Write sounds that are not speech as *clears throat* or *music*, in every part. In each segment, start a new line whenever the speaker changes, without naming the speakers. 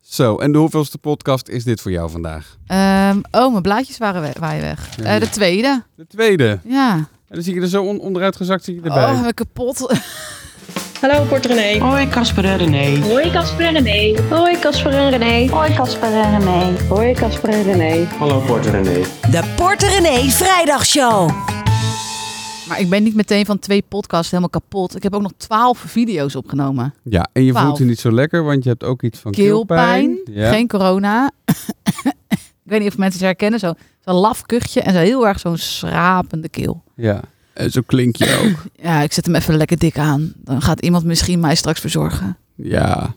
Zo, en de hoeveelste podcast is dit voor jou vandaag?
Ehm, oh, mijn blaadjes waren we- waaien weg.
Ja.
Eh, de tweede.
De tweede. En
Ja.
dan zie je er zo on- onderuit gezakt zie je erbij.
Oh, we kapot. *laughs*
Hallo Port René.
Hoi Casper en René.
Hoi Casper en René. Hoi Casper en René. Hoi Casper en René. Hoi Casper en René.
Hallo Port René.
De Porter René Vrijdagshow.
Maar ik ben niet meteen van twee podcasts helemaal kapot. Ik heb ook nog twaalf video's opgenomen.
Ja, en je
Twaalf.
voelt je niet zo lekker, want je hebt ook iets van
Keelpijn,
keelpijn. Ja.
geen corona. *laughs* ik weet niet of mensen het herkennen. Zo- Zo'n laf kuchje en zo heel erg zo'n schrapende keel.
ja. En zo klink je
*laughs*
ook.
Ja, ik zet hem even lekker dik aan. Dan gaat iemand misschien mij straks
*laughs*
verzorgen.
ja.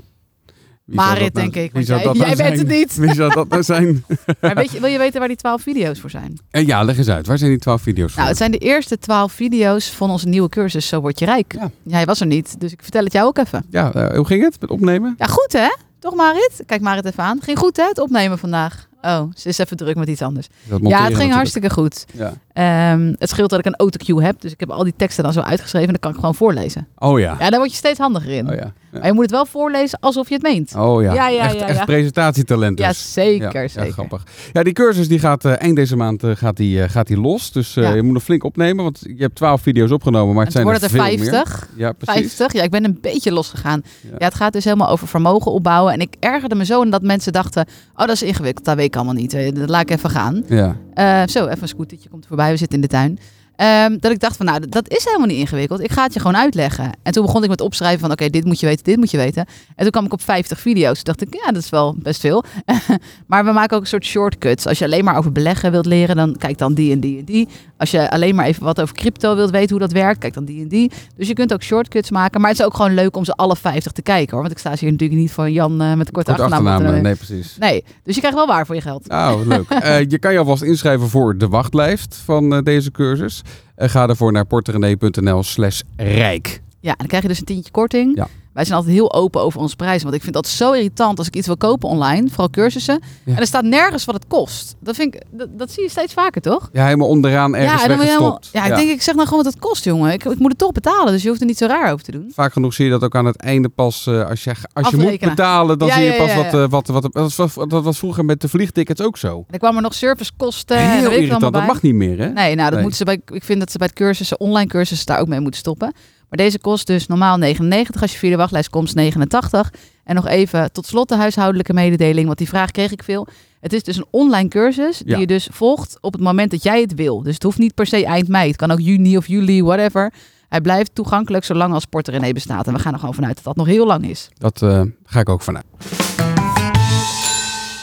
Wie
Marit,
zou dat nou-
denk
wie
ik, want
zou
jij-
dat nou
jij bent
zijn?
het niet.
Wie zou dat nou
*laughs*
zijn?
Maar weet je, wil je weten waar die twaalf video's voor zijn?
En ja, leg eens uit. Waar zijn die twaalf video's voor?
Nou, het zijn de eerste twaalf video's van onze nieuwe cursus Zo Word Je Rijk.
Ja.
Jij was er niet, dus ik vertel het jou ook even.
Ja, eh, hoe ging het met opnemen?
Ja, goed hè? Toch Marit? Kijk Marit even aan. Ging goed hè, het opnemen vandaag? Oh, ze is even druk met iets anders.
Dat monteren
ja, het ging
natuurlijk.
hartstikke goed.
Ja.
Ehm, het scheelt dat ik een autocue heb, dus ik heb al die teksten dan zo uitgeschreven en dan kan ik gewoon voorlezen.
Oh ja.
Ja, daar word je steeds handiger in.
Oh ja. ja.
Maar je moet het wel voorlezen alsof je het meent.
Oh ja,
Ja, ja,
echt,
ja,
echt
ja.
presentatietalent dus.
Ja, zeker,
Ja, ja,
zeker.
grappig. Ja, die cursus die gaat eh, eind deze maand eh, gaat die, eh, gaat die los. Dus eh,
Ja.
je moet nog flink opnemen, want je hebt twaalf video's opgenomen, maar
En
het
toen
zijn
wordt
er
het
veel
er
meer.
50.
Ja, precies.
50. Ja, ik ben een beetje losgegaan.
Ja.
Ja. het gaat dus helemaal over vermogen opbouwen. En ik ergerde me zo aan dat mensen dachten: oh, dat is ingewikkeld. Dat weet ik allemaal niet. Eh, Dat laat ik even gaan.
Ja,
Eh, zo, even een scootertje komt voorbij. We zitten in de tuin. Ehm, dat ik dacht van, nou, dat- dat is helemaal niet ingewikkeld. Ik ga het je gewoon uitleggen. En toen begon ik met opschrijven van, oké, dit moet je weten, dit moet je weten. En toen kwam ik op 50 video's. Toen dacht ik, ja, dat is wel best veel. *laughs* maar we maken ook een soort shortcuts. Als je alleen maar over beleggen wilt leren, dan kijk dan die en die en die. Als je alleen maar even wat over crypto wilt weten, hoe dat werkt, kijk dan die en die. Dus je kunt ook shortcuts maken. Maar het is ook gewoon leuk om ze alle 50 te kijken, hoor. Want ik sta hier natuurlijk niet van Jan eh, met een korte
kort
achternaam.
achternaam.
nee.
Nee, precies.
nee, dus je krijgt wel waar voor je geld.
Nou, leuk. Eh, je kan je alvast inschrijven voor de wachtlijst van eh, deze cursus. Eh, ga daarvoor naar porterenee.nl slash rijk.
Ja, en dan krijg je dus een tientje korting.
Ja.
Wij zijn altijd heel open over onze prijzen. Want ik vind dat zo irritant als ik iets wil kopen online. Vooral cursussen. En er staat nergens wat het kost. Dat, vind ik, dat, dat zie je steeds vaker, toch?
Ja, helemaal onderaan ergens
ja, en je helemaal,
weggestopt.
ja, ik denk, ik zeg nou gewoon wat het kost, jongen. Ik, ik moet het toch betalen, dus je hoeft er niet zo raar over te doen.
Vaak genoeg zie je dat ook aan het einde pas. eh, als je, als je moet
Afrekenen.
betalen, dan
Ja,
zie je
ja,
pas
ja,
wat.
ja.
eh, wat, wat, dat was- dat was vroeger met de vliegtickets ook zo.
En er kwamen nog servicekosten.
Heel
en Eh, weet ik het allemaal
irritant. Dat
bij.
mag niet meer, hè?
Nee, nou, dat
Nee.
moeten ze bij, ik vind dat ze bij het cursussen, online cursussen, daar ook mee moeten stoppen. Maar deze kost dus normaal 99. Als je via de wachtlijst komt, 89. En nog even tot slot de huishoudelijke mededeling, want die vraag kreeg ik veel. Het is dus een online cursus die
Ja.
je dus volgt op het moment dat jij het wil. Dus het hoeft niet per se eind mei. Het kan ook juni of juli, whatever. Hij blijft toegankelijk zolang als Porter René bestaat. En we gaan er gewoon vanuit dat dat nog heel lang is.
Dat eh, ga ik ook vanuit.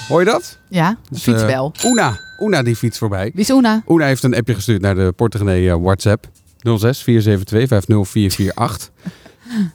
Hoor je dat?
Ja, de
Dus,
fiets
eh,
wel.
Oena. Oena die fiets voorbij.
Wie is Una?
Oena heeft een appje gestuurd naar de Portegenee eh, WhatsApp. 06 472
*laughs*
50448.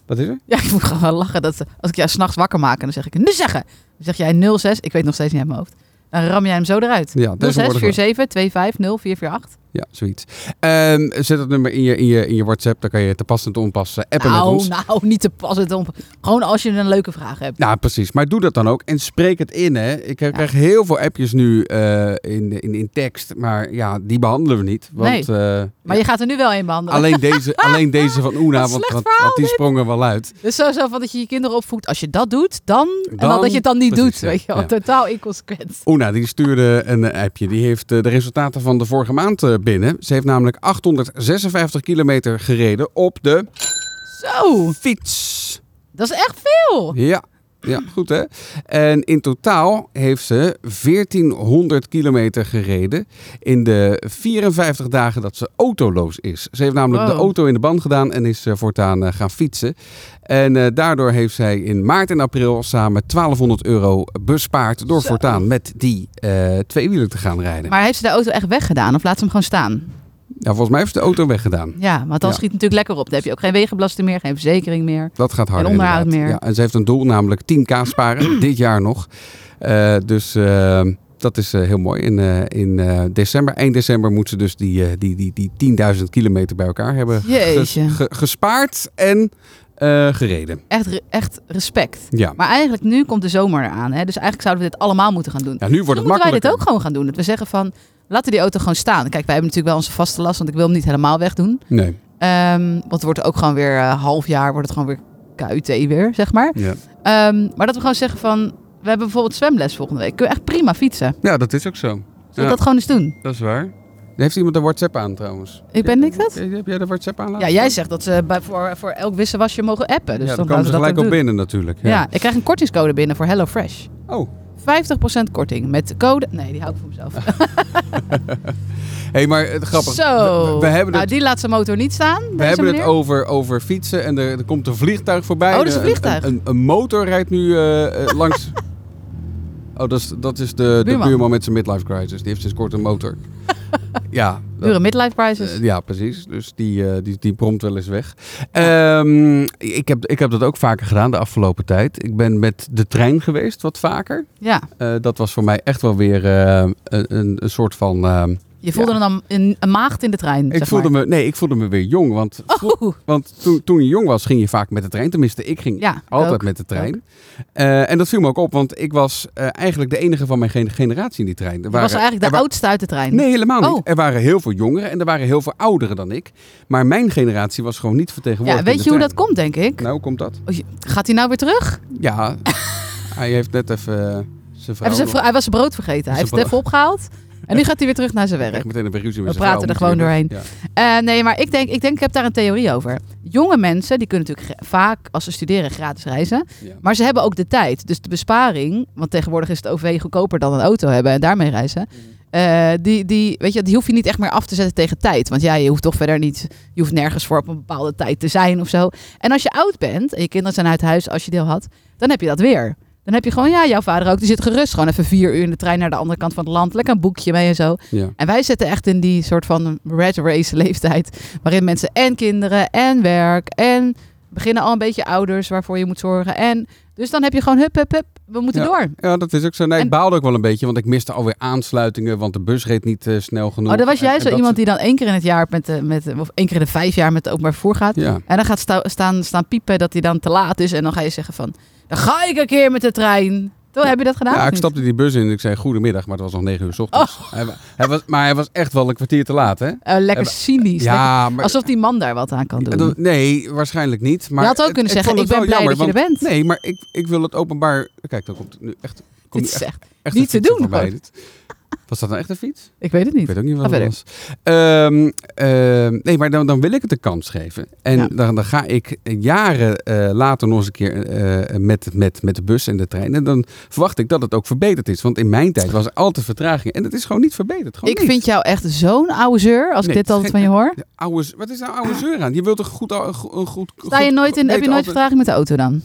Wat is er?
Ja, ik moet gewoon wel lachen. Dat, ze- als ik jou s'nachts wakker maak en dan zeg ik, nu zeggen. Dan zeg jij 06, ik weet nog steeds niet uit mijn hoofd. Dan ram jij hem zo eruit.
Ja,
06
tegenwoordig
47 25 0448.
Ja, zoiets. Ehm, zet dat nummer in je, in, je, in je WhatsApp. Dan kan je te pas en te onpas eh, appen met ons.
Nou, nou, niet te pas het om. Gewoon als je een leuke vraag hebt.
Nou, precies. Maar doe dat dan ook en spreek het in. Hè. Ik eh, krijg heel veel appjes nu eh, in, in, in tekst, maar ja, die behandelen we niet. Want, eh,
maar
ja,
je gaat er nu wel een behandelen.
alleen, deze, alleen deze van Oena,
*laughs* Wat
want,
slecht
want,
verhaal
want die
dit.
sprongen wel uit.
Dus sowieso van dat je je kinderen opvoedt. Als je dat doet, dan... en
Dan-
dan dat je het dan niet
precies,
doet.
ja.
Weet je wel,
Ja.
totaal inconsequent.
Oena, die stuurde een appje. Die heeft eh, de resultaten van de vorige maand eh, binnen. Ze heeft namelijk 856 kilometer gereden op de
Zo,
fiets.
dat is echt veel.
Ja, ja goed hè. En in totaal heeft ze 1400 kilometer gereden in de 54 dagen dat ze autoloos is. Ze heeft namelijk
Wow.
de auto in de band gedaan en is eh, voortaan eh, gaan fietsen. En eh, daardoor heeft zij in maart en april samen 1200 euro bespaard door
Zo.
voortaan met die eh tweewieler te gaan rijden.
Maar heeft ze de auto echt weggedaan of laat ze hem gewoon staan?
Ja, volgens mij heeft ze de auto weggedaan.
Ja, want dan
Ja.
schiet het natuurlijk lekker op. Dan heb je ook geen wegenbelasting meer, geen verzekering meer.
Dat gaat hard.
En onderhoud
inderdaad.
meer.
Ja, en ze heeft een doel, namelijk 10k sparen, *clears throat* dit jaar nog. Eh, dus eh, dat is eh, heel mooi. In, eh, in eh, december, eind december, moet ze dus die, eh, die, die, die 10.000 kilometer bij elkaar hebben ge-
Jeetje.
ge- gespaard en eh, gereden.
Echt, re- echt respect.
Ja.
Maar eigenlijk nu komt de zomer eraan. Hè? Dus eigenlijk zouden we dit allemaal moeten gaan doen.
ja, nu wordt
Dan
het
moeten wij dit
makkelijker.
ook gewoon gaan doen. Dat we zeggen van, laten we die auto gewoon staan. Kijk, wij hebben natuurlijk wel onze vaste last, want ik wil hem niet helemaal wegdoen.
Nee.
Ehm, want het wordt ook gewoon weer eh half jaar, wordt het gewoon weer KUT weer, zeg maar.
Ja.
Ehm, maar dat we gewoon zeggen van, We hebben bijvoorbeeld zwemles volgende week. Kun je echt prima fietsen. Zullen
Ja, dat is ook zo.
we
Ja,
dat gewoon eens doen?
dat is waar. Heeft iemand een WhatsApp aan trouwens?
Ik ben niks dat?
Heb jij de WhatsApp aan
Ja,
laten
jij
staan?
zegt dat ze bij, voor, voor elk wisselwasje mogen appen. Dus
ja, dan
dan
komen ze
laten we
gelijk
dat
op
dan doen.
binnen natuurlijk.
Ja. ik krijg een kortingscode binnen voor HelloFresh.
Oh,
50% korting met de code. Nee, die hou ik voor mezelf.
hé, hey, maar het grappig.
Zo.
We, we hebben
nou,
het,
die laat zijn motor niet staan.
we hebben het over, over fietsen en er, er komt een vliegtuig voorbij.
Oh, er is een
Een-
vliegtuig.
Een, een, een motor rijdt nu eh,
*laughs*
eh, langs... Oh, dat is, dat is de, de
Buurman.
buurman met zijn midlife crisis. Die heeft sinds kort een
*laughs*
motor. ja, dat-
Dure midlife crisis.
Eh, ja, precies. Dus die, eh, die, die prompt wel eens weg. Ehm, ik, heb, ik heb dat ook vaker gedaan de afgelopen tijd. Ik ben met de trein geweest, wat vaker.
ja.
Eh, dat was voor mij echt wel weer eh, een, een, een soort van... eh,
Je voelde
Ja.
dan een, een maagd in de trein.
ik, voelde me, nee, ik voelde me weer jong. Want, vo-
Oh.
want toen, toen je jong was, ging je vaak met de trein. Tenminste, ik ging
Ja,
altijd
ook.
met de trein. Eh, en dat viel me ook op, want ik was eh, eigenlijk de enige van mijn gen- generatie in die trein. Er
Je was eigenlijk de
er wa-
oudste uit de trein.
Nee, helemaal niet.
Oh.
Er waren heel veel jongeren en er waren heel veel ouderen dan ik. Maar mijn generatie was gewoon niet vertegenwoordigd.
ja, weet je
in de
hoe dat
trein.
komt, denk ik?
Nou, hoe komt dat?
Oh, je- Gaat hij nou weer terug? *laughs*
Ja, hij heeft net even eh, zijn vrouw...
Hij, was
nog-
hij was zijn brood vergeten. Hij
Zijn
heeft het even opgehaald. En nu gaat hij weer terug
*laughs*
naar zijn werk.
Echt meteen een beruzie met
We
zijn
praten
vrouw
er gewoon
natuurlijk.
Eh, nee, maar ik denk, ik denk, ik heb daar een theorie over. Jonge mensen, die kunnen natuurlijk gra- vaak als ze studeren gratis reizen.
Ja, ja.
Maar ze hebben ook de tijd. Dus de besparing, want tegenwoordig is het OV goedkoper dan een auto hebben en daarmee reizen. Eh, die, die, weet je, die hoef je niet echt meer af te zetten tegen tijd. Want ja, je hoeft toch verder niet, je hoeft nergens voor op een bepaalde tijd te zijn of zo. En als je oud bent en je kinderen zijn uit huis, als je deel had, dan heb je dat weer. Dan heb je gewoon, ja, jouw vader ook, die zit gerust gewoon even vier uur in de trein naar de andere kant van het land. Lekker een boekje mee en zo.
Ja.
En wij zitten echt in die soort van red race leeftijd. Waarin mensen en kinderen en werk en beginnen al een beetje ouders waarvoor je moet zorgen. En dus dan heb je gewoon hup, hup, hup. We moeten
Ja.
door.
Ja, dat is ook zo. Nee,
En-
ik baalde ook wel een beetje, want ik miste alweer aansluitingen, want de bus reed niet eh, snel genoeg.
Oh, dan was
En-
jij
en
zo
dat
iemand
soort-
die dan één keer in het jaar met, de- met de- of één keer in de vijf jaar met de openbaar vervoer gaat.
Ja.
En dan gaat sta- staan, staan piepen dat hij dan te laat is. En dan ga je zeggen van, dan ga ik een keer met de trein. Toen heb je dat gedaan?
Ja,
of
ik
niet? Oh.
stapte die bus in en ik zei goedemiddag, maar het was nog negen uur s ochtends. Hij, wa- hij was, maar hij was echt wel een kwartier te laat, hè?
Eh, lekker
Ja,
cynisch. lekker-
Ja, maar...
alsof die man daar wat aan kan doen.
En dat- nee, waarschijnlijk niet. Maar
je had ook
het-
kunnen
ik
zeggen,
vond
ik ben
het wel
blij dat je
jammer,
er bent.
want- Nee, maar ik, ik wil het openbaar... Kijk, dan komt nu echt... Kom
Dit is echt,
echt
niet te
een fietser
doen,
Voorbij.
hoor.
Dit- Was dat nou echt een fiets?
ik weet het
Ik
niet.
weet ook niet wat
Ga
het was. Ehm, ehm, nee, maar dan, dan wil ik het de kans geven. En
Ja.
dan, dan ga ik jaren eh, later nog eens een keer eh, met, met, met de bus en de trein. En dan verwacht ik dat het ook verbeterd is. Want in mijn tijd was er altijd vertraging. En het is gewoon niet verbeterd. Gewoon
Ik
niet.
vind jou echt zo'n oude zeur, als
Nee,
ik dit altijd
geen-
van je hoor.
De Oude, z- wat is nou oude zeur aan? Je wilt toch goed... Een goed, een goed
Sta je
goed-
nooit in, heb je
weten
nooit
altijd-
vertraging met de auto dan?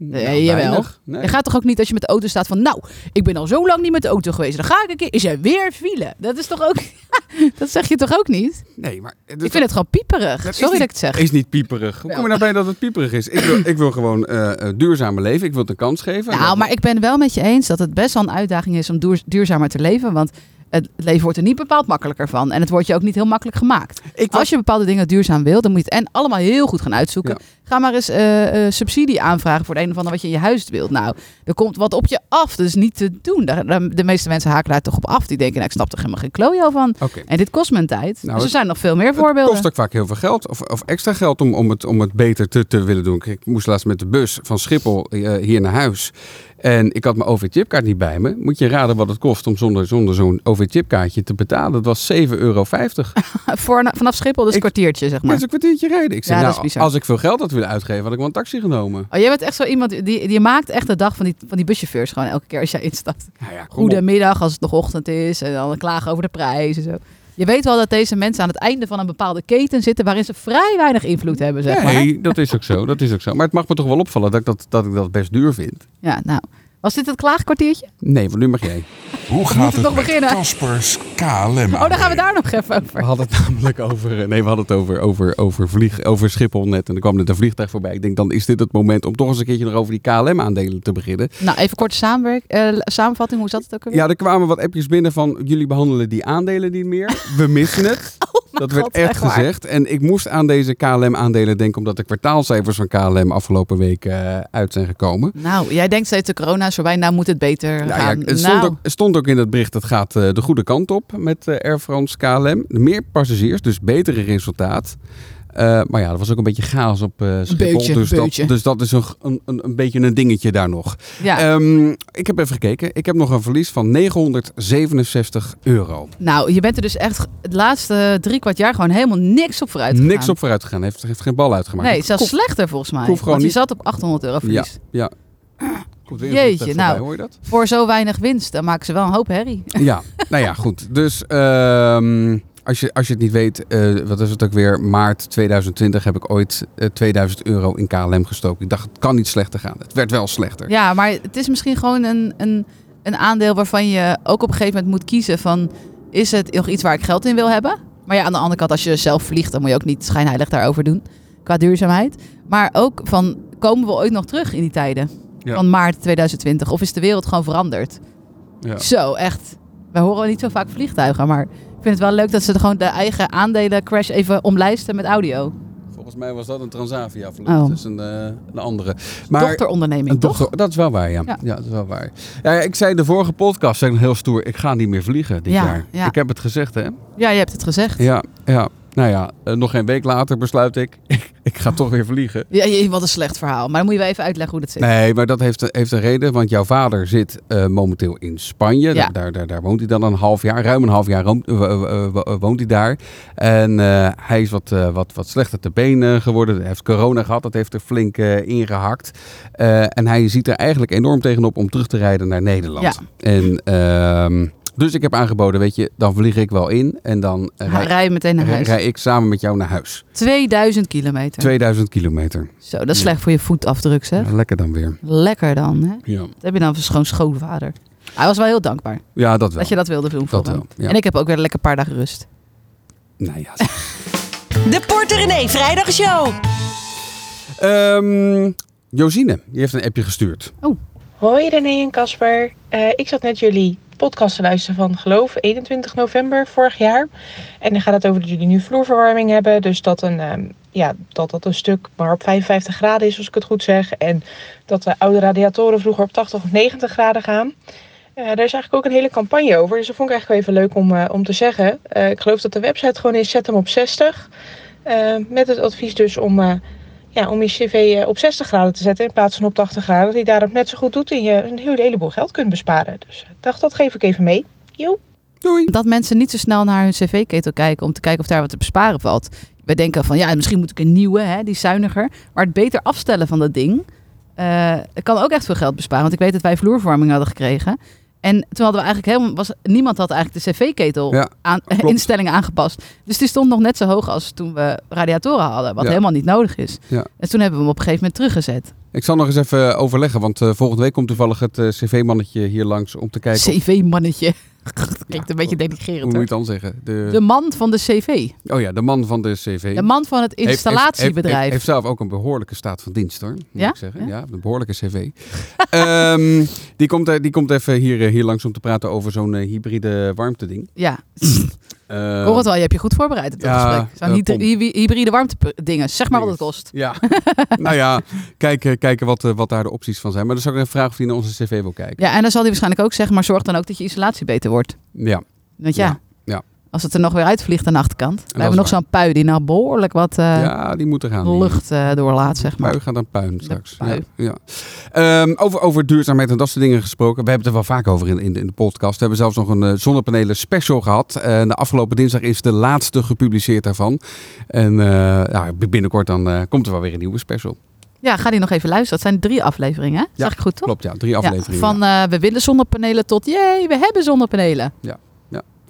Nou,
Ja, jawel.
weinig. Nee.
Je gaat toch ook niet als je met de auto staat van... Nou, ik ben al zo lang niet met de auto geweest. Dan ga ik een keer... Is er weer file? Dat is toch ook... *laughs* dat zeg je toch ook niet?
Nee, maar dat,
ik vind het gewoon pieperig.
dat is
Sorry dat
niet-
ik het zeg.
is niet pieperig. Hoe kom je nou bij dat het pieperig is? Ik wil, ik wil gewoon eh eh, duurzamer leven. Ik wil het een kans geven.
Nou, maar ik ben wel met je eens dat het best wel een uitdaging is om duur- duurzamer te leven. Want het leven wordt er niet bepaald makkelijker van. En het wordt je ook niet heel makkelijk gemaakt.
ik was-
Als je bepaalde dingen duurzaam wil, dan moet je het en allemaal heel goed gaan uitzoeken.
Ja.
Ga maar eens eh, eh, subsidie aanvragen voor het een of ander wat je in je huis wilt. Nou, er komt wat op je af. Dat is niet te doen. Daar- daar- De meeste mensen haken daar toch op af. Die denken, nou, ik snap er helemaal geen klojo van.
Oké.
En dit kost mijn tijd. dus er
Nou, het-
zijn nog veel meer
Het
voorbeelden.
kost ook vaak heel veel geld of, of extra geld om, om, het, om het beter te, te willen doen. Kijk, Ik moest laatst met de bus van Schiphol eh, hier naar huis. En ik had mijn OV-chipkaart niet bij me. Moet je raden wat het kost om zonder, zonder zo'n OV-chipkaartje te betalen? Dat was 7,50 euro.
*laughs* Voor, vanaf Schiphol dus
Ik-
een kwartiertje, zeg
Dat
maar.
is een kwartiertje rijden. Ik zei,
Ja, dat is
nou,
bizar.
als ik veel geld had willen uitgeven, had ik wel een taxi genomen.
Oh, jij bent echt zo iemand die, die maakt echt de dag van die, van die buschauffeurs gewoon elke keer als jij instapt.
Nou ja, kom op.
Goedemiddag als het nog ochtend is en dan klagen over de prijs en zo. Je weet wel dat deze mensen aan het einde van een bepaalde keten zitten waarin ze vrij weinig invloed hebben, zeg maar.
Nee, dat is ook zo. Dat is ook zo. Maar het mag me toch wel opvallen dat ik dat, dat, ik dat best duur vind.
Ja, nou. Was dit het klaagkwartiertje?
Nee, want nu mag jij.
Hoe gaat
het
het
nog
met
beginnen.
Caspers KLM?
Oh, dan gaan we daar nog even over.
We hadden het namelijk over. eh, Nee, we hadden het over, over, over, vlieg, over Schiphol net. En er kwam net een vliegtuig voorbij. Ik denk, dan is dit het moment om toch eens een keertje nog over die KLM-aandelen te beginnen.
Nou, even korte samenwerk, eh, samenvatting. Hoe zat het ook alweer?
Ja, er kwamen wat appjes binnen van. Jullie behandelen die aandelen niet meer. We missen het. *laughs*
*laughs*
dat werd
Oh God,
echt
echt waar.
gezegd. En ik moest aan deze KLM-aandelen denken, omdat de kwartaalcijfers van KLM afgelopen week eh, uit zijn gekomen.
Nou, jij denkt steeds de corona is voorbij, nou moet het beter
Nou ja,
gaan.
het stond,
nou,
ook, het stond ook in het bericht, het gaat eh, de goede kant op met eh, Air France KLM. Meer passagiers, dus betere resultaat. Eh, maar ja, er was ook een beetje chaos op eh Schiphol.
Beetje,
dus,
beetje.
Dat, dus dat is een, een, een een beetje een dingetje daar nog.
Ja.
Ehm, ik heb even gekeken. Ik heb nog een verlies van 967 euro.
nou, je bent er dus echt het laatste drie kwart jaar gewoon helemaal niks op vooruit gegaan.
Niks op vooruit gegaan. Heeft, heeft geen bal uitgemaakt.
Nee,
Het
zelfs
komt-
slechter volgens mij.
hoef gewoon
Want je
niet-
zat op 800 euro
Ja,
verlies.
ja. Komt weer een
Jeetje,
vliegtuig
nou.
voorbij, Hoor je dat?
Voor zo weinig winst, dan maken ze wel een hoop herrie.
*laughs* Ja, nou ja, goed. Dus ehm, als, je, als je het niet weet, eh, wat is het ook weer? Maart 2020 heb ik ooit eh, 2000 euro in KLM gestoken. Ik dacht, het kan niet slechter gaan. Het werd wel slechter.
Ja, maar het is misschien gewoon een, een, een aandeel waarvan je ook op een gegeven moment moet kiezen van... is het nog iets waar ik geld in wil hebben? Maar ja, aan de andere kant, als je zelf vliegt... dan moet je ook niet schijnheilig daarover doen qua duurzaamheid. Maar ook van, komen we ooit nog terug in die tijden?
Ja.
Van maart 2020? Of is de wereld gewoon veranderd?
Ja.
Zo, echt. We horen niet zo vaak vliegtuigen, maar... Ik vind het wel leuk dat ze er gewoon de eigen aandelen crash even omlijsten met audio.
Volgens mij was dat een Transavia
Oh.
Dat is een, eh, een andere. Maar,
Dochteronderneming,
Een
toch?
dochter, dat is wel waar, ja.
Ja.
ja. dat is wel waar. Ja, ja, ik zei in de vorige podcast, zei ik nog heel stoer, ik ga niet meer vliegen dit
Ja,
jaar.
ja.
Ik heb het gezegd, hè?
Ja, je hebt het gezegd.
Ja, ja. Nou ja, eh, nog geen week later besluit ik, *laughs* ik, ik ga toch weer vliegen.
Ja, je- wat een slecht verhaal. Maar dan moet je wel even uitleggen hoe dat zit.
Nee, maar dat heeft, heeft een reden, want jouw vader zit eh, momenteel in Spanje.
Ja.
Daar, daar, daar woont hij dan een half jaar, ruim een half jaar woont, eh, eh, eh, eh, woont hij daar. En eh, hij is wat, eh, wat, wat slechter te benen geworden. Hij heeft corona gehad, dat heeft er flink eh, ingehakt. Eh, en hij ziet er eigenlijk enorm tegenop om terug te rijden naar Nederland. En, ehm, dus ik heb aangeboden, weet je, dan vlieg ik wel in en dan eh,
Ga
rij,
Rij meteen naar
rij-
huis.
rij ik samen met jou naar huis.
2000 kilometer.
2000 kilometer.
Zo, dat is slecht voor je voetafdruk, zeg.
Lekker dan weer.
Lekker dan, hè?
Ja,
Dat heb je dan voor schoon schoonvader. Hij was wel heel dankbaar
ja dat wel.
dat je dat wilde doen voor
Dat
hem.
wel, ja.
En ik heb ook weer een lekker paar dagen rust.
Nou ja,
*laughs*
De Porter René Vrijdagshow.
Ehm Josine, die heeft een appje gestuurd.
Hoi René en Casper. Eh, ik zat net jullie podcast te luisteren van geloof 21 november vorig jaar. En dan gaat het over dat jullie nu vloerverwarming hebben. Dus dat een, ehm, ja, dat, dat een stuk maar op 55 graden is, als ik het goed zeg. En dat de oude radiatoren vroeger op 80 of 90 graden gaan. Eh, daar is eigenlijk ook een hele campagne over. Dus dat vond ik eigenlijk wel even leuk om, eh, om te zeggen. Eh, ik geloof dat de website gewoon is zet hem op 60. Eh, met het advies dus om... eh, ja, om je cv eh, op 60 graden te zetten in plaats van op 80 graden. Dat hij daarop net zo goed doet en je een heel heleboel geld kunt besparen. Dus ik dacht, dat geef ik even mee.
Doei.
Dat mensen niet zo snel naar hun cv-ketel kijken om te kijken of daar wat te besparen valt. Wij denken van, ja, misschien moet ik een nieuwe, hè, die is zuiniger. Maar het beter afstellen van dat ding eh, het kan ook echt veel geld besparen. Want ik weet dat wij vloerverwarming hadden gekregen. En toen hadden we eigenlijk helemaal, was, niemand had eigenlijk de cv-ketel
Ja,
aan,
klopt.
*laughs* instellingen aangepast. Dus die stond nog net zo hoog als toen we radiatoren hadden, wat
Ja.
helemaal niet nodig is.
Ja.
En toen hebben we hem op een gegeven moment teruggezet.
Ik zal nog eens even overleggen, want eh, volgende week komt toevallig het eh, cv-mannetje hier langs om te kijken. of-
CV-mannetje. *laughs* Dat
Ja,
klinkt een beetje
hoe moet
denigrerend.
je
hoor.
het dan zeggen?
De
De,
man van de CV.
oh ja, de man van de cv.
De man van het
Heeft- heeft- Heeft, heeft,
installatiebedrijf.
heeft zelf ook een behoorlijke staat van dienst hoor, moet
Ja?
ik zeggen.
Ja?
Ja, een behoorlijke cv. *laughs* Ehm, die, komt, eh, die komt even hier, eh, hier langs om te praten over zo'n eh, hybride warmteding.
Ja,
Eh,
hoor het wel. Je hebt je goed voorbereid op dat
ja,
gesprek. Zo'n
eh,
hyd-
pomp.
hy- hybride warmtedingen. Zeg maar wat het kost.
Ja,
*laughs*
nou ja, kijken, kijken wat, eh, wat daar de opties van zijn. Maar dan zou ik even vragen of hij naar onze cv wil kijken.
Ja, en dan zal hij waarschijnlijk ook zeggen, maar zorg dan ook dat je isolatie beter wordt.
Ja,
Want ja,
Ja, ja.
als het er nog weer uitvliegt aan de achterkant. We hebben
is
nog
waar.
zo'n pui die nou behoorlijk wat eh,
ja die moet er gaan. die-
lucht eh, doorlaat, zeg maar.
Pui gaat dan puin straks.
pui.
Ja, ja. Ehm, over, over duurzaamheid en dat soort dingen gesproken. We hebben het er wel vaak over in, in, de- in de podcast. We hebben zelfs nog een eh, zonnepanelen special gehad. En de afgelopen dinsdag is de laatste gepubliceerd daarvan. En eh, ja, binnenkort dan eh, komt er wel weer een nieuwe special.
Ja, ga die nog even luisteren. Dat zijn drie afleveringen, hè? Zag ik goed, toch?
Klopt, ja. Drie
Ja,
afleveringen.
van eh, we willen zonnepanelen tot jee, we hebben zonnepanelen.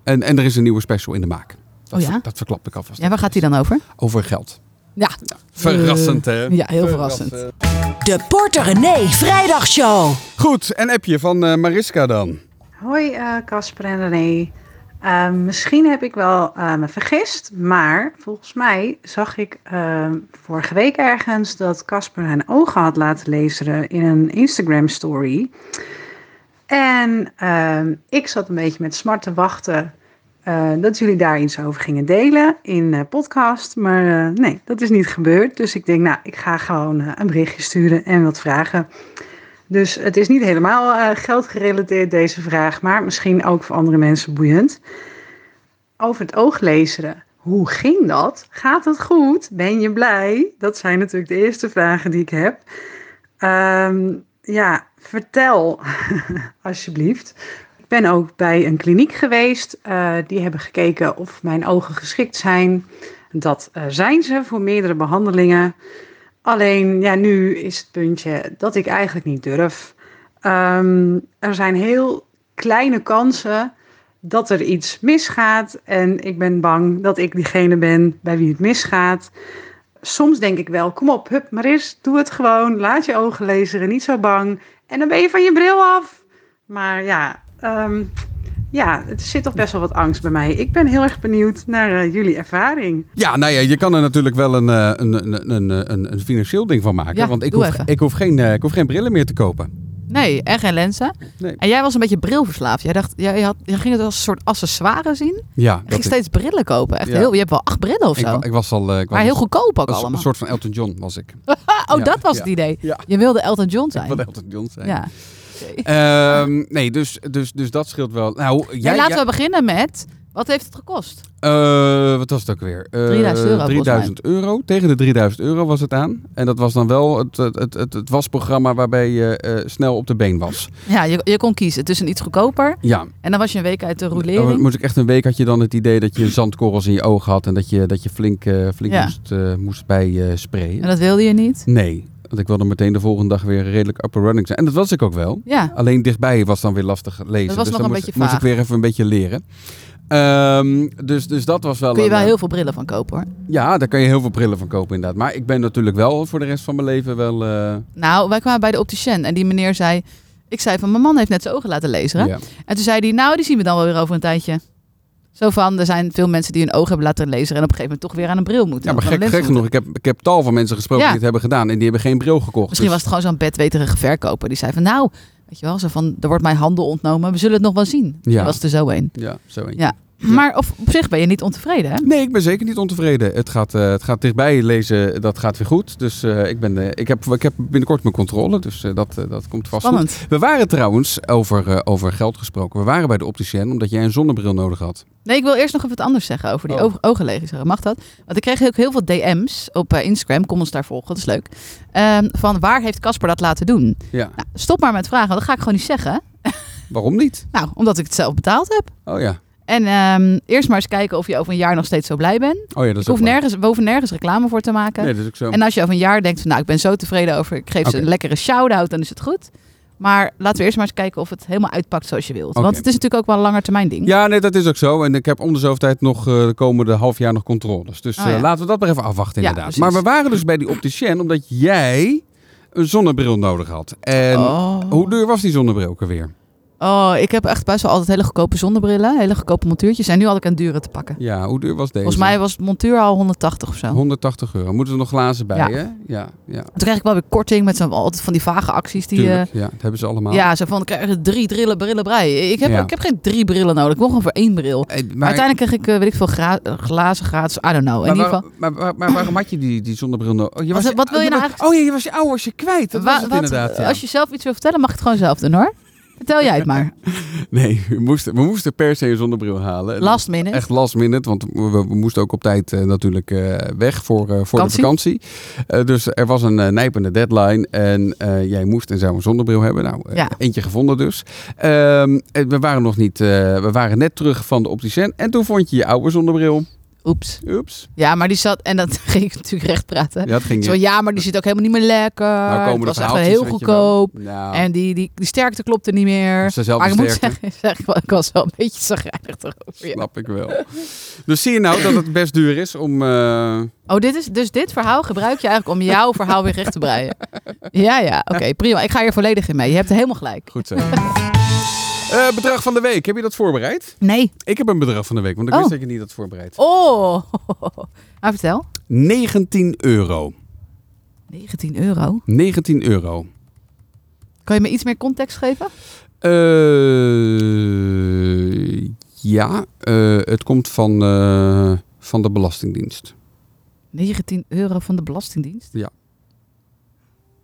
en, en er is een nieuwe special in de maak. Dat,
Oh ja?
ver- dat verklap ik alvast.
Ja, waar gaat die dan over?
Over geld.
Ja,
Verrassend, hè?
Eh, ja heel verrassend.
De Porter René Vrijdagshow.
Goed, en appje van eh, Mariska dan.
Hoi eh, Casper en René. Ehm, misschien heb ik wel eh, me vergist, maar volgens mij zag ik ehm, vorige week ergens dat Casper zijn ogen had laten lezen in een Instagram story. En ehm, ik zat een beetje met smart te wachten eh, dat jullie daar iets over gingen delen in eh podcast. Maar eh, nee, dat is niet gebeurd. Dus ik denk, nou, ik ga gewoon eh, een berichtje sturen en wat vragen. Dus het is niet helemaal eh, geldgerelateerd deze vraag, maar misschien ook voor andere mensen boeiend. Over het ooglezeren. Hoe ging dat? Gaat het goed? Ben je blij? Dat zijn natuurlijk de eerste vragen die ik heb. Ehm, ja, vertel alsjeblieft. Ik ben ook bij een kliniek geweest. Eh, die hebben gekeken of mijn ogen geschikt zijn. Dat eh, zijn ze voor meerdere behandelingen. Alleen ja, nu is het puntje dat ik eigenlijk niet durf. Ehm, er zijn heel kleine kansen dat er iets misgaat. En ik ben bang dat ik diegene ben bij wie het misgaat. Soms denk ik wel, kom op, hup, maar eens, doe het gewoon. Laat je ogen lezen, niet zo bang. En dan ben je van je bril af. Maar ja, ehm, ja, het zit toch best wel wat angst bij mij. Ik ben heel erg benieuwd naar eh, jullie ervaring.
Ja, nou ja, je kan er natuurlijk wel een, eh, een, een, een, een, een financieel ding van maken.
Ja,
want ik
doe
hoef,
even.
ik, hoef geen, eh, ik hoef geen brillen meer te kopen.
Nee, en geen lenzen.
Nee.
En jij was een beetje brilverslaafd. Jij dacht, jij, had, jij ging het als een soort accessoire zien.
Ja,
Je
dat
ging
is-
steeds brillen kopen. Echt
Ja.
heel, je hebt wel acht brillen of
ik,
zo.
wa- ik was al. eh, ik was
maar heel
al-
goedkoop ook
als- Een
allemaal.
soort van Elton John was ik.
oh,
ja,
dat was
ja.
het idee.
Ja.
Je wilde Elton John
*laughs*
zijn.
Ik wilde Elton John zijn.
Ja.
Ehm, nee, dus, dus, dus dat scheelt wel. Nou, jij,
Hey, laten
jij-
we beginnen met, wat heeft het gekost?
Eh, wat was het ook weer? Eh,
3000 euro, volgens
3000 euro. Tegen de 3000 euro was het aan. En dat was dan wel het, het, het, het, het wasprogramma waarbij je eh, snel op de been was.
Ja, je, je kon kiezen tussen iets goedkoper
Ja,
en dan was je een week uit de
Dan
roulering.
moest ik echt een week had je dan het idee dat je zandkorrels in je ogen had en dat je, dat je flink, eh, flink
Ja.
moest, eh, moest bij eh, sprayen.
En dat wilde je niet.
Nee, want ik wilde meteen de volgende dag weer redelijk up and running zijn. En dat was ik ook wel.
Ja,
Alleen dichtbij was dan weer lastig lezen.
was
dus
nog
dan
een
moest,
beetje
moest ik
vaag.
weer even een beetje leren. Ehm, dus, dus dat was wel
kun je
een,
wel
eh,
heel veel brillen van kopen hoor.
Ja, daar kan je heel veel brillen van kopen inderdaad. Maar ik ben natuurlijk wel voor de rest van mijn leven wel... eh,
Nou, wij kwamen bij de opticien en die meneer zei... Ik zei van, mijn man heeft net zijn ogen laten lezen. hè?
ja.
En toen zei hij, nou, die zien we dan wel weer over een tijdje. Zo van, er zijn veel mensen die hun ogen hebben laten lezen... en op een gegeven moment toch weer aan een bril moeten.
ja, maar
of aan een
gek,
lens
gek genoeg.
moeten.
Ik heb, ik heb tal van mensen gesproken
Ja.
die het hebben gedaan en die hebben geen bril gekocht.
Misschien
Dus-
was het gewoon zo'n bedweterige verkoper. Die zei van, nou, weet je wel, zo van, er wordt mijn handel ontnomen. We zullen het nog wel zien.
Ja.
Dat was er zo een.
Ja, zo eentje.
Ja. Maar of, op zich ben je niet ontevreden, hè?
Nee, ik ben zeker niet ontevreden. Het gaat, eh, het gaat dichtbij lezen, dat gaat weer goed. Dus eh, ik, ben, eh, ik, heb, ik heb binnenkort mijn controle, dus eh, dat, eh, dat komt vast goed.
Spannend.
We waren trouwens, over, eh, over geld gesproken, we waren bij de opticien omdat jij een zonnebril nodig had.
Nee, ik wil eerst nog even wat anders zeggen over die
Oh.
oog- ogenlegers. Mag dat? Want ik kreeg ook heel veel DM's op eh, Instagram. Kom ons daar volgen, dat is leuk. Ehm, van waar heeft Casper dat laten doen?
Ja,
Nou, stop maar met vragen, want dat ga ik gewoon niet zeggen.
waarom niet?
Nou, omdat ik het zelf betaald heb.
Oh ja,
En ehm, eerst maar eens kijken of je over een jaar nog steeds zo blij bent.
oh, ja dat is
Ik hoef
ook waar.
nergens, we hoeven nergens reclame voor te maken.
Nee, dat is ook zo.
En als je over een jaar denkt, van, nou, ik ben zo tevreden over, ik geef ze
Oké.
een lekkere shout-out, dan is het goed. Maar laten we eerst maar eens kijken of het helemaal uitpakt zoals je wilt.
Oké.
Want het is natuurlijk ook wel een langer termijn ding.
Ja, nee, dat is ook zo. En ik heb om de zoveel tijd nog eh, de komende half jaar nog controles. Dus
Oh,
eh,
ja.
laten we dat maar even afwachten
Ja,
inderdaad.
precies.
maar we waren dus bij die opticien omdat jij een zonnebril nodig had. En
Oh.
hoe duur was die zonnebril ook alweer?
Oh, ik heb echt best wel altijd hele goedkope zonnebrillen, hele goedkope montuurtjes. En nu had ik een dure te pakken.
Ja, hoe duur was deze?
Volgens mij was het montuur al 180 of zo.
180 euro. Moeten er nog glazen bij,
Ja.
hè? Ja, ja.
Toen kreeg ik wel weer korting met zo'n altijd van die vage acties die. eh,
Tuurlijk, ja, dat hebben ze allemaal.
ja, zo van dan krijg je drie drillen, brillen brei. Ik heb,
Ja.
ik heb geen drie brillen nodig. Ik mocht gewoon voor één bril.
Eh, maar,
Maar uiteindelijk kreeg ik, eh, weet ik veel, gra- eh, glazen gratis. I don't know.
maar
in ieder
waar-
geval,
maar, waar- maar waarom had je die, die zonnebril nodig? Oh, je
Wat-
was-
wat wil je nou
was-
eigenlijk-
Oh ja, je was je ouders je kwijt. Dat
wa-
was het
wat-
inderdaad. ja.
Als je zelf iets wil vertellen, mag ik het gewoon zelf doen hoor. Vertel jij het maar.
Nee, we moesten, we moesten per se *laughs* een zonnebril halen.
Last minute.
Echt last minute, want we, we moesten ook op tijd eh, natuurlijk eh, weg voor, eh, voor de vakantie. Eh, dus er was een eh, nijpende deadline en eh, jij moest en zou een zonnebril hebben. Nou, eh,
Ja.
eentje gevonden dus. Ehm, eh, we waren nog niet, eh, we waren net terug van de opticien en toen vond je je oude zonnebril.
Oeps.
Ups.
Ja, maar die zat, en dat *laughs* ging ik natuurlijk recht praten.
Ja, dat ging
Zo,
niet. Nou,
ja, maar die zit ook helemaal niet meer lekker. Eh, het was echt heel goedkoop. En die, die, die sterkte klopte niet meer.
Ze zelf
maar ik moet
sterkte.
zeggen, *laughs* zeg, ik wa- ik was wel een beetje zagrijnig erover. ja.
*laughs* Snap ik wel. Dus zie je nou dat het best duur is om... eh,
Oh, dit is, dus dit verhaal gebruik je eigenlijk om jouw verhaal weer recht te
*laughs*
breien. Ja, ja, oké, prima. Ik ga hier volledig in mee. Je hebt helemaal gelijk. *laughs*
Goed zo. Eh, bedrag van de week, heb je dat voorbereid?
Nee.
Ik heb een bedrag van de week, want ik
Oh.
wist dat je niet had voorbereid.
Oh, *laughs* nou vertel.
19 euro.
19 euro.
19 euro.
Kan je me iets meer context geven?
Eh, ja, eh, het komt van, eh, van de Belastingdienst.
19 euro van de Belastingdienst?
Ja.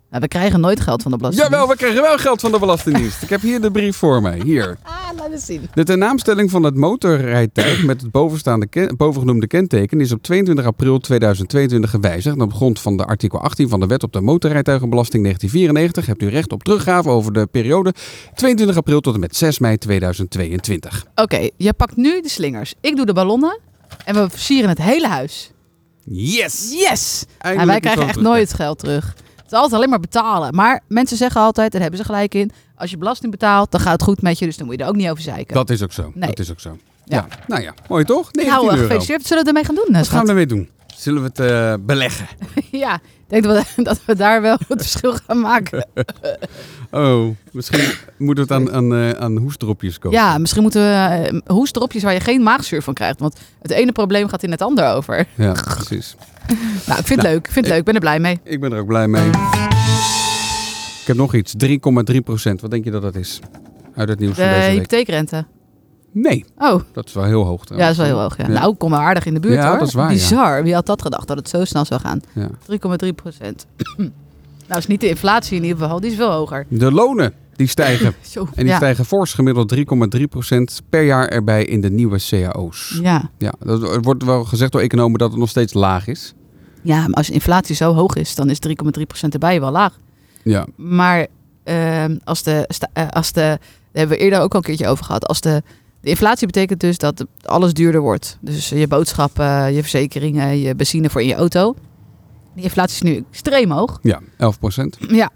Nou, we krijgen nooit geld van de Belastingdienst.
Jawel, we krijgen wel geld van de Belastingdienst. ik heb hier de brief voor mij. Hier.
Ah, laat we zien.
De tenaamstelling van het motorrijtuig met het bovenstaande ken- bovengenoemde kenteken is op 22 april 2022 gewijzigd. En op grond van de artikel 18 van de Wet op de Motorrijtuigenbelasting 1994 hebt u recht op teruggave over de periode 22 april tot en met 6 mei 2022.
Oké, jij pakt nu de slingers. Ik doe de ballonnen. En we versieren het hele huis.
Yes!
Yes!
Eindelijk
en wij
iets
krijgen
wat
echt
terug.
nooit geld terug. Het is altijd alleen maar betalen. Maar mensen zeggen altijd, en daar hebben ze gelijk in... als je belasting betaalt, dan gaat het goed met je. Dus dan moet je er ook niet over zeiken.
Dat is ook zo.
Nee.
Dat is ook zo. Ja.
Ja.
Nou ja, mooi toch? 19
nou, eh,
euro.
gefeliciteerd. Zullen we het ermee gaan doen, Nou,
Wat gaan
schat?
we ermee doen? Zullen we het eh, beleggen?
*laughs* Ja, ik denk dat we, dat we daar wel het verschil gaan maken.
Oh, misschien moet het aan, aan, eh, aan hoestdropjes komen.
Ja, misschien moeten we eh, hoestdropjes waar je geen maagzuur van krijgt. Want het ene probleem gaat in het ander over. *laughs*
Ja, precies.
Nou, ik vind het leuk. Ik vind het leuk. Ik ben er blij mee.
Ik ben er ook blij mee. Ik heb nog iets. 3,3 procent. Wat denk je dat dat is? Uit het nieuws
De
van deze week.
hypotheekrente.
Nee,
Oh,
dat is wel heel hoog.
ja, dat
trouwens.
is wel heel hoog. Ja.
Ja.
Nou, kom maar aardig in de buurt
Ja,
hoor.
dat is waar, ja.
Bizar. Wie had dat gedacht, dat het zo snel zou gaan?
Ja.
3,3 procent. *clears throat* nou, is niet de inflatie in ieder geval. Die is veel hoger.
De lonen die
*clears throat*
stijgen.
Zo,
En die
ja.
stijgen fors gemiddeld 3,3 procent per jaar erbij in de nieuwe cao's.
Ja.
Ja, dat er wordt wel gezegd door economen dat het nog steeds laag is.
ja, maar als inflatie zo hoog is, dan is 3,3 procent erbij wel laag.
Ja,
Maar ehm, als, de, sta- eh, als de. Daar hebben we eerder ook al een keertje over gehad. Als de, de inflatie betekent dus dat alles duurder wordt. Dus je boodschappen, je verzekeringen, je benzine voor in je auto. Die inflatie is nu extreem hoog.
ja 11 procent.
Ja.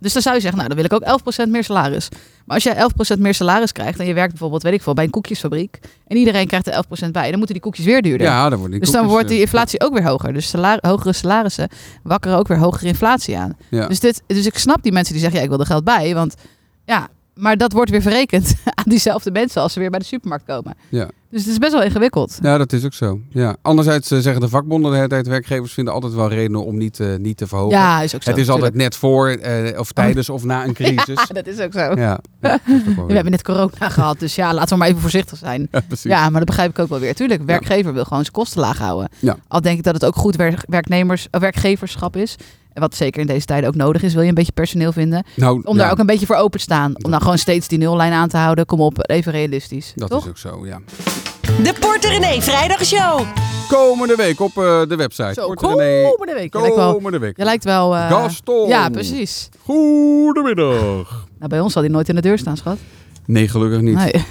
Dus dan zou je zeggen, nou dan wil ik ook 11% meer salaris. Maar als jij 11% meer salaris krijgt en je werkt bijvoorbeeld, weet ik veel, bij een koekjesfabriek. En iedereen krijgt er 11% bij. Dan moeten die koekjes weer duurder.
Ja, dan wordt die
Dus dan
koekjes,
wordt die
eh,
inflatie ook weer hoger. Dus salar- hogere salarissen wakkeren ook weer hogere inflatie aan.
Ja.
Dus, dit, dus ik snap die mensen die zeggen, ja, ik wil er geld bij. Want ja, maar dat wordt weer verrekend *laughs* aan diezelfde mensen als ze weer bij de supermarkt komen.
Ja.
Dus het is best wel ingewikkeld.
Ja, dat is ook zo. Ja. Anderzijds eh, zeggen de vakbonden de hele tijd, werkgevers vinden altijd wel redenen om niet, eh, niet te verhogen.
Ja, is ook zo.
het is altijd
natuurlijk.
net voor, eh, of tijdens, of na een crisis.
*laughs* Ja, dat is ook zo.
Ja, ja, dat is toch wel
We
weer-
hebben net corona *laughs* gehad, dus ja, laten we maar even voorzichtig zijn.
*laughs* Ja, precies.
Ja, maar dat begrijp ik ook wel weer. Tuurlijk, werkgever wil gewoon zijn kosten laag houden.
Ja.
Al denk ik dat het ook goed werk- werknemers, eh, werkgeverschap is. En wat zeker in deze tijden ook nodig is, wil je een beetje personeel vinden.
nou,
Om
ja,
daar ook een beetje voor open te staan. Om dan gewoon steeds die nullijn aan te houden. Kom op, even realistisch.
Dat
toch?
is ook zo, ja.
De Porter René Vrijdagshow.
Komende week op eh, de website.
Zo,
Korte René.
komende week. Je lijkt wel-
Komende week.
Je lijkt wel... eh,
Gaston.
Ja, precies.
Goedemiddag.
Nou, bij ons zal hij nooit in de deur staan, schat.
Nee, gelukkig niet. Nee.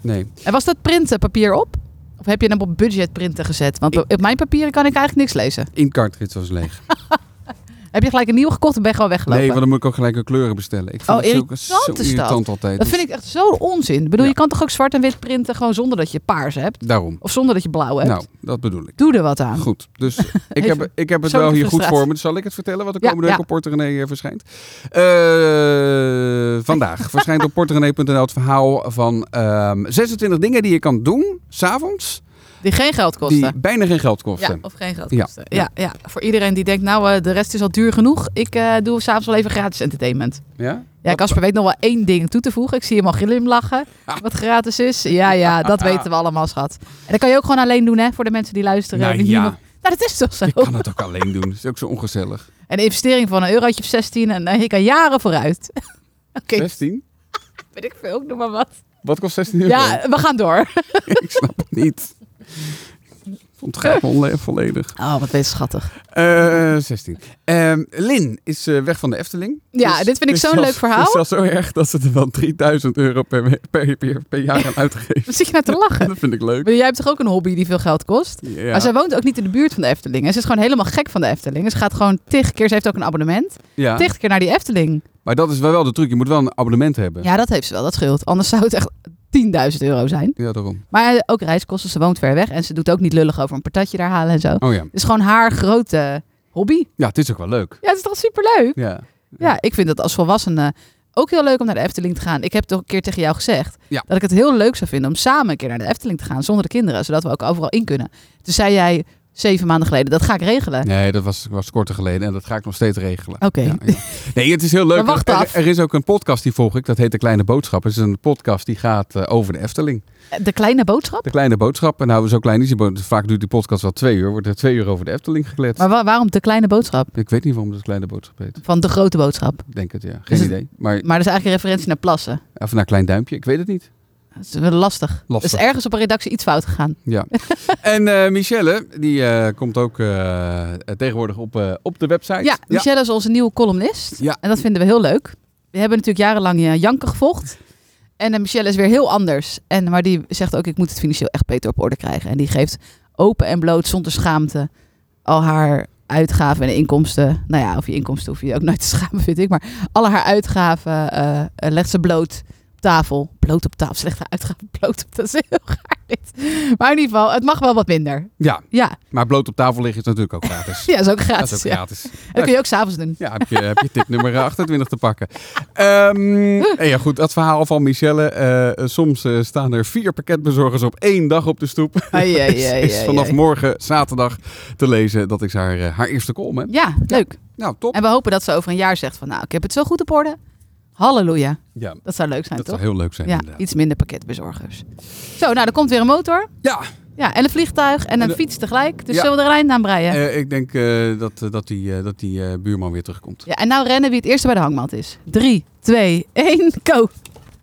Nee. En was dat printenpapier op? Of heb je hem op budgetprinten gezet? Want op mijn papieren kan ik eigenlijk niks lezen.
Eén cartridge was leeg.
Heb je gelijk een nieuwe gekocht en ben je gewoon weggelopen?
Nee, want dan moet ik ook gelijk een kleuren bestellen. Ik vind
Oh,
het zo,
irritant
zo
is dat.
irritant altijd.
Dat vind ik echt zo onzin. Ik bedoel, je kan toch ook zwart en wit printen gewoon zonder dat je paars hebt?
Dus Daarom.
Of zonder dat je blauw hebt?
Nou, dat bedoel ik.
Doe er wat aan.
Goed, dus
*laughs*
ik heb, ik heb het
persoonlijke
wel hier goed
frustratie.
voor me. Dus Zal ik het vertellen wat de
Ja,
komende
ja.
week op Porto René eh, verschijnt? Eh,
*laughs*
vandaag verschijnt op porterené.nl het verhaal van ehm, 26 dingen die je kan doen, s'avonds,
Die geen geld kosten.
die bijna geen geld kosten.
Ja, of geen geld
Ja,
kosten. Ja, ja. voor iedereen die denkt, nou, eh, de rest is al duur genoeg. Ik eh, doe s'avonds wel even gratis entertainment.
Ja?
Ja, Casper weet nog wel één ding toe te voegen. Ik zie hem al glimlachen, wat gratis is. Ja, ja, dat weten we allemaal, schat. En dat kan je ook gewoon alleen doen, hè, voor de mensen die luisteren.
Nou
die
ja.
niemand- Nou, dat is toch zo.
Ik kan het ook alleen doen. Dat is ook zo ongezellig.
Een investering van een eurotje of 16 en eh, je kan jaren vooruit. *laughs* Oké,
16?
weet ik veel, noem maar wat.
Wat kost 16 euro?
Ja, we gaan door.
Ik snap het niet. Ontgaat me onle- volledig.
Oh, wat weet schattig.
Eh, 16. Ehm, Lin is eh, weg van de Efteling.
Ja, dit vind ik
is
zo'n
zelfs-
leuk verhaal.
Het is zelfs zo erg dat ze er wel 3000 euro per, me- per, per, per jaar aan uitgeven. *laughs*
Wat zit je nou te lachen?
Dat vind ik leuk.
Maar Jij hebt toch ook een hobby die veel geld kost?
Ja.
Maar zij woont ook niet in de buurt van de Efteling. En ze is gewoon helemaal gek van de Efteling. En Ze gaat gewoon tig keer, ze heeft ook een abonnement,
Ja.
tig keer naar die Efteling.
Maar dat is wel, wel de truc. Je moet wel een abonnement hebben.
Ja, dat heeft ze wel, dat scheelt. Anders zou het echt 10.000 euro zijn.
Ja, daarom.
Maar eh, ook reiskosten, ze woont ver weg. En ze doet ook niet lullig over een patatje daar halen en zo. Het
Oh ja.
is gewoon haar grote hobby.
Ja, het is ook wel leuk.
Ja, het is toch superleuk?
Ja.
Ja, ik vind dat als volwassene ook heel leuk om naar de Efteling te gaan. Ik heb toch een keer tegen jou gezegd
Ja.
dat ik het heel leuk zou vinden om samen een keer naar de Efteling te gaan zonder de kinderen, zodat we ook overal in kunnen. Toen zei jij zeven maanden geleden, dat ga ik regelen.
Nee, dat was, was korter geleden en dat ga ik nog steeds regelen.
Oké.
Ja, ja. Nee, het is heel leuk.
Maar wacht
er,
af.
er is ook een podcast die volg ik, dat heet De Kleine Boodschap. Het is een podcast die gaat eh, over de Efteling.
De kleine boodschap?
De Kleine Boodschap, en nou zo klein is die boodschap. Vaak duurt die podcast wel twee uur, wordt er twee uur over de Efteling gekletst.
Maar wa- waarom de kleine boodschap?
Ik weet niet waarom dat Kleine Boodschap heet.
Van de grote boodschap.
Ik denk het, ja. Geen
Dus het-
idee. Maar,
Maar dat is eigenlijk een referentie naar plassen.
of naar Klein Duimpje, ik weet het niet.
Dat is wel lastig.
Lastig.
Dus ergens op een redactie iets fout gegaan.
Ja. en eh, Michelle, die eh, komt ook eh, tegenwoordig op, eh, op de website.
Ja, Michelle is onze nieuwe columnist.
Ja.
En dat vinden we heel leuk. We hebben natuurlijk jarenlang eh, Janke
*laughs*
gevolgd. En eh, Michelle is weer heel anders. En, maar die zegt ook, ik moet het financieel echt beter op orde krijgen. En die geeft open en bloot, zonder schaamte, al haar uitgaven en inkomsten. Nou ja, of je inkomsten hoef je je ook nooit te schamen, vind ik. Maar alle haar uitgaven eh, eh, legt ze bloot op tafel. Bloot op tafel, slechte uitgaven, bloot op tafel. Dat is heel *laughs* gaar dit. Maar in ieder geval, het mag wel wat minder.
Ja,
Ja,
maar bloot op tafel liggen is natuurlijk ook gratis.
*laughs* ja is ook
Dat
gratis.
is ook
ja.
gratis.
En dat kun je ook s'avonds doen.
Ja, heb je, heb je tip *laughs* nummer 28 te pakken. Ehm, en ja, goed, dat verhaal van Michelle. eh, soms eh, staan er vier pakketbezorgers op één dag op de stoep.
Ai,
*laughs*
ai,
Dus
ai,
is
ai,
vanaf
ai.
morgen, zaterdag, te lezen. Dat is haar, eh, haar eerste column. Hè?
Ja, leuk.
Nou, top.
En we hopen dat ze over een jaar zegt van nou, ik heb het zo goed op orde. Halleluja.
Ja,
Dat zou leuk zijn,
dat zou
toch?
heel leuk zijn.
ja,
inderdaad.
iets minder pakketbezorgers. Zo, nou, er komt weer een motor.
Ja,
Ja, en een vliegtuig en een
de-
fiets tegelijk. Dus
Ja.
zullen we er een eind aan breien?
eh, ik denk eh, dat, eh, dat die, eh, dat die eh, buurman weer terugkomt.
Ja, en nou rennen wie het eerste bij de hangmat is. Drie, twee, één, go!